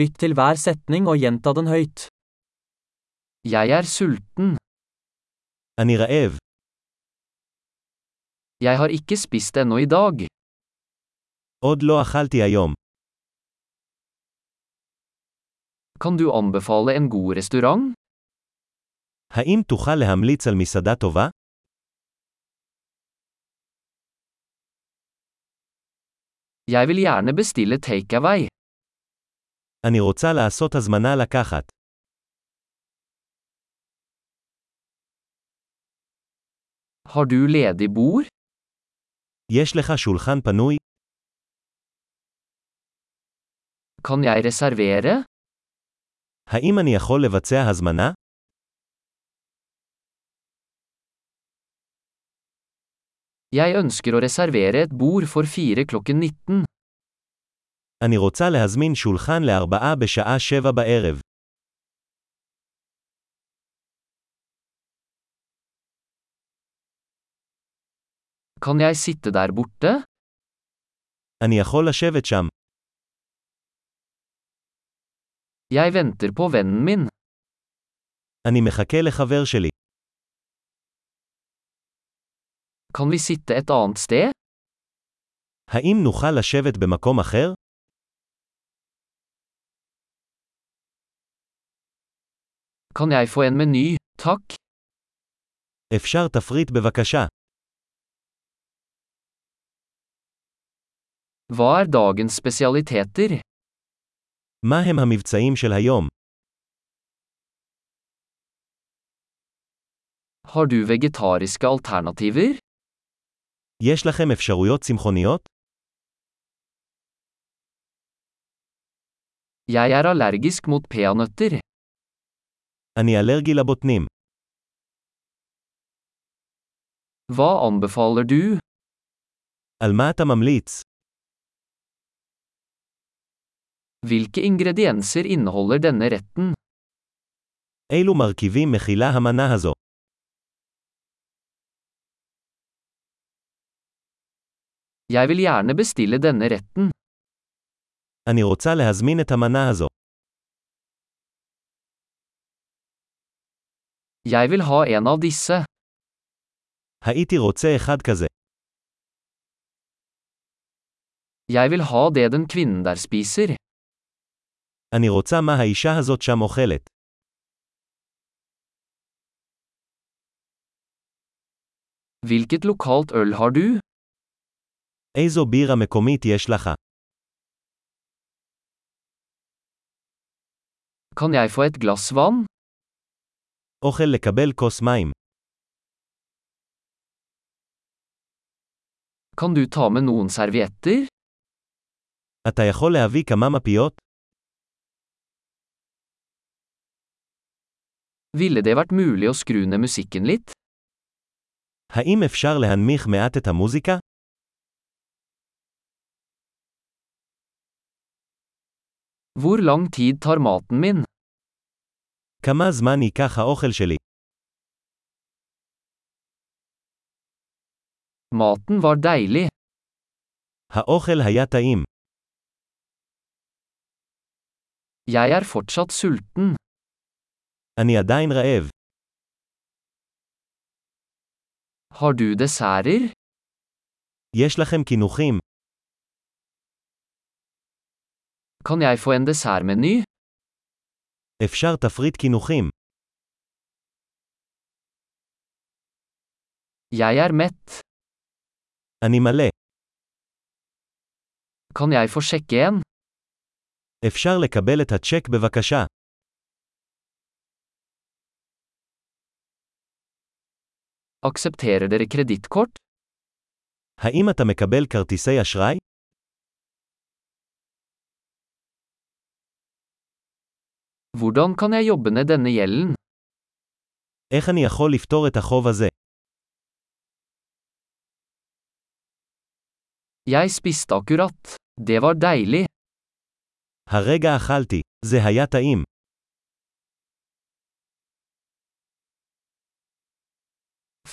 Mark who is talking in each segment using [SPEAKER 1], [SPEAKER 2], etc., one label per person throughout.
[SPEAKER 1] Lytt til hver setning og gjenta den høyt. Jeg er sulten.
[SPEAKER 2] אני רעב,
[SPEAKER 1] Jeg har ikke spist ennå i dag.
[SPEAKER 2] עוד לא אכלתי היום.
[SPEAKER 1] Kan du anbefale en god restaurant?
[SPEAKER 2] האם תוכל להמליץ על מסעדה טובה?
[SPEAKER 1] Jeg vil gjerne bestille takeaway.
[SPEAKER 2] אני רוצה לעשות הזמנה לקחת.
[SPEAKER 1] Har du ledig bord?
[SPEAKER 2] יש לך שולחן פנוי?
[SPEAKER 1] Kan jeg reservere?
[SPEAKER 2] האם אני יכול לבצע הזמנה?
[SPEAKER 1] Jeg ønsker å reservere et bord for fire klokken 19.
[SPEAKER 2] אני רוצה להזמין שולחן לארבעה בשעה שבע בערב.
[SPEAKER 1] Kan jeg sitte der borte?
[SPEAKER 2] אני יכול לשבת שם.
[SPEAKER 1] Jeg venter på vennen min.
[SPEAKER 2] אני מחכה לחבר שלי.
[SPEAKER 1] Kan vi sitte et annet sted?
[SPEAKER 2] האם נוכל לשבת במקום אחר?
[SPEAKER 1] Kan jeg få en meny, takk?
[SPEAKER 2] אפשר תפריט בבקשה.
[SPEAKER 1] Hva er dagens spesialiteter?
[SPEAKER 2] מה הם המבצעים של היום?
[SPEAKER 1] Har du vegetariske alternativer?
[SPEAKER 2] יש לכם אפשרויות צמחוניות?
[SPEAKER 1] Jeg er allergisk mot peanøtter.
[SPEAKER 2] אני אלרגי לבוטנים.
[SPEAKER 1] Hva anbefaler du?
[SPEAKER 2] על מה אתה ממליץ?
[SPEAKER 1] Hvilke ingredienser inneholder denne retten?
[SPEAKER 2] אילו מרכיבים מכילה המנה הזו?
[SPEAKER 1] Jeg vil gjerne bestille denne retten.
[SPEAKER 2] אני רוצה להזמין את המנה הזו.
[SPEAKER 1] Jeg vil ha en av disse.
[SPEAKER 2] הייתי רוצה אחד כזה.
[SPEAKER 1] Jeg vil ha det den kvinnen der spiser.
[SPEAKER 2] אני רוצה מה האישה הזאת שם אוכלת.
[SPEAKER 1] Hvilket lokalt øl har du?
[SPEAKER 2] איזו בירה מקומית יש לך?
[SPEAKER 1] Kan jeg få et glass vann?
[SPEAKER 2] אוכל לקבל כוס מים.
[SPEAKER 1] Kan du ta med noen servietter?
[SPEAKER 2] אתה יכול להביא כמה מפיות?
[SPEAKER 1] Ville det vært mulig å skru ned musikken litt?
[SPEAKER 2] האם אפשר להנמיך מעט את המוזיקה?
[SPEAKER 1] Hvor lang tid tar maten min?
[SPEAKER 2] כמה זמן ייקח האוכל שלי?
[SPEAKER 1] Maten var deilig.
[SPEAKER 2] האוכל היה טעים.
[SPEAKER 1] Jeg er fortsatt sulten.
[SPEAKER 2] אני עדיין רעב.
[SPEAKER 1] Har du desserter?
[SPEAKER 2] יש לכם קינוחים?
[SPEAKER 1] Kan jeg få en dessertmeny?
[SPEAKER 2] אפשר תפריט קינוחים.
[SPEAKER 1] Jeg er mett.
[SPEAKER 2] אני מלא.
[SPEAKER 1] Kan jeg få sjekke en?
[SPEAKER 2] אפשר לקבל את הצ'ק בבקשה.
[SPEAKER 1] Aksepterer dere kredittkort?
[SPEAKER 2] האם אתה מקבל כרטיסי אשראי?
[SPEAKER 1] Hvordan kan jeg jobbe ned denne gjelden?
[SPEAKER 2] איך אני יכול לפתור את החוב הזה?
[SPEAKER 1] Jeg spiste akkurat. Det var deilig.
[SPEAKER 2] הרגע אכלתי. זה היה טעים.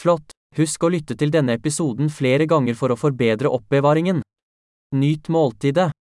[SPEAKER 1] Flott! Husk å lytte til denne episoden flere ganger for å forbedre oppbevaringen. Nyt måltidet.